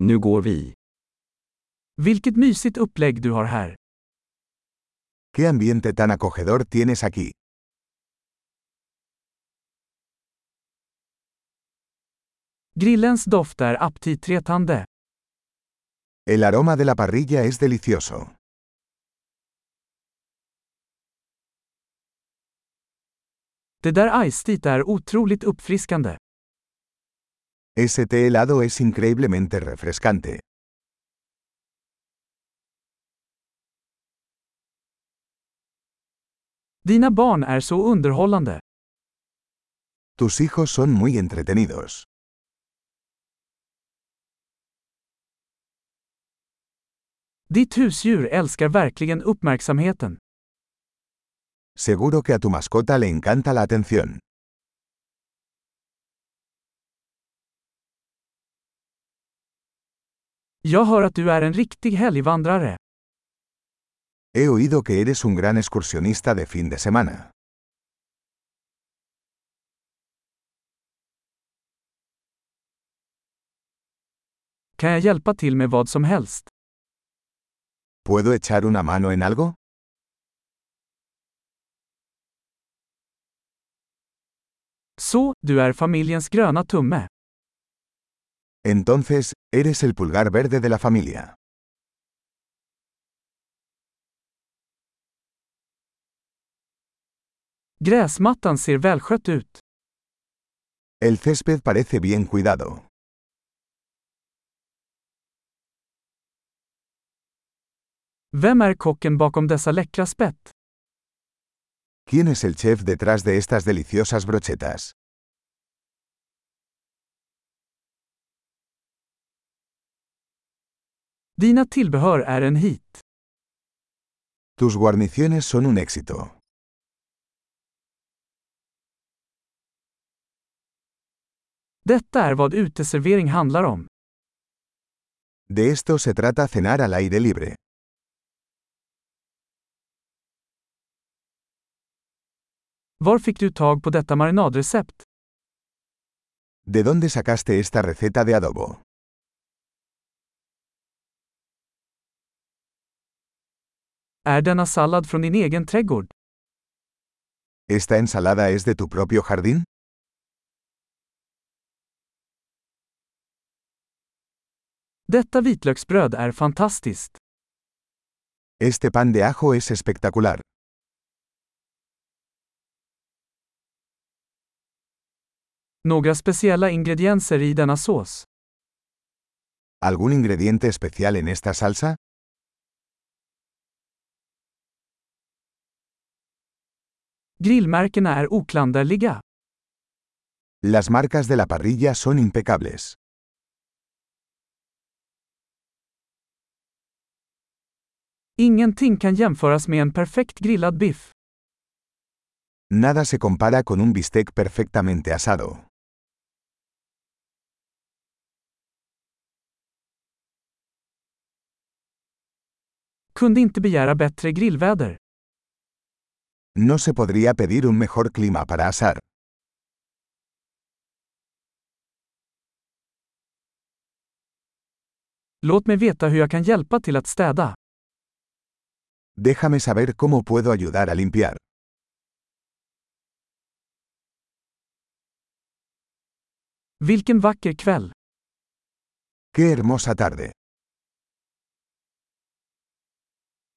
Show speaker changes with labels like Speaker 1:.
Speaker 1: Nu går vi.
Speaker 2: Vilket mysigt upplägg du har här.
Speaker 3: ¿Qué ambiente tan acogedor tienes aquí?
Speaker 2: Grillens doft är aptitretande.
Speaker 3: El aroma de la parrilla es delicioso.
Speaker 2: Det där iced är otroligt uppfriskande.
Speaker 3: Ese té helado es increíblemente refrescante.
Speaker 2: Dina barn är så underhållande.
Speaker 3: Tus hijos son muy entretenidos.
Speaker 2: Ditt husdjur älskar verkligen uppmärksamheten.
Speaker 3: Seguro que a tu mascota le encanta la atención.
Speaker 2: Jag hör att du är en riktig helgvandrare.
Speaker 3: He oído que eres un gran excursionista de fin de semana.
Speaker 2: Kan jag hjälpa till med vad som helst?
Speaker 3: ¿Puedo echar una mano en algo?
Speaker 2: Så, du är familjens gröna tumme.
Speaker 3: Entonces, eres el pulgar verde de la familia.
Speaker 2: Gräsmattan ser välskött ut.
Speaker 3: El césped parece bien cuidado.
Speaker 2: Vem är kocken bakom dessa läckra spett?
Speaker 3: ¿Quién es el chef detrás de estas deliciosas brochetas?
Speaker 2: Dina tillbehör är en hit.
Speaker 3: Tus guarniciones son un éxito.
Speaker 2: Detta är vad uteservering handlar om.
Speaker 3: De esto se trata cenar al aire libre.
Speaker 2: Var fick du tag på detta marinadrecept?
Speaker 3: ¿De dónde sacaste esta receta de adobo?
Speaker 2: Är denna sallad från din egen trädgård?
Speaker 3: ¿Esta ensalada es de tu propio jardín?
Speaker 2: Detta vitlöksbröd är fantastiskt.
Speaker 3: Este pan de ajo es espectacular.
Speaker 2: Några speciella ingredienser i denna sås.
Speaker 3: ¿Algún ingrediente especial en esta salsa?
Speaker 2: Grillmärkena är oklanderliga.
Speaker 3: Las marcas de la parrilla son impecables.
Speaker 2: Ingenting kan jämföras med en perfekt grillad biff.
Speaker 3: Nada se compara con un bistec perfectamente asado.
Speaker 2: Kunde inte begära bättre grillväder.
Speaker 3: No se podría pedir un mejor clima para asar.
Speaker 2: Låt mig veta hur jag kan hjälpa till att städa.
Speaker 3: Déjame saber cómo puedo ayudar a limpiar.
Speaker 2: Vilken vacker kväll!
Speaker 3: ¡Qué hermosa tarde!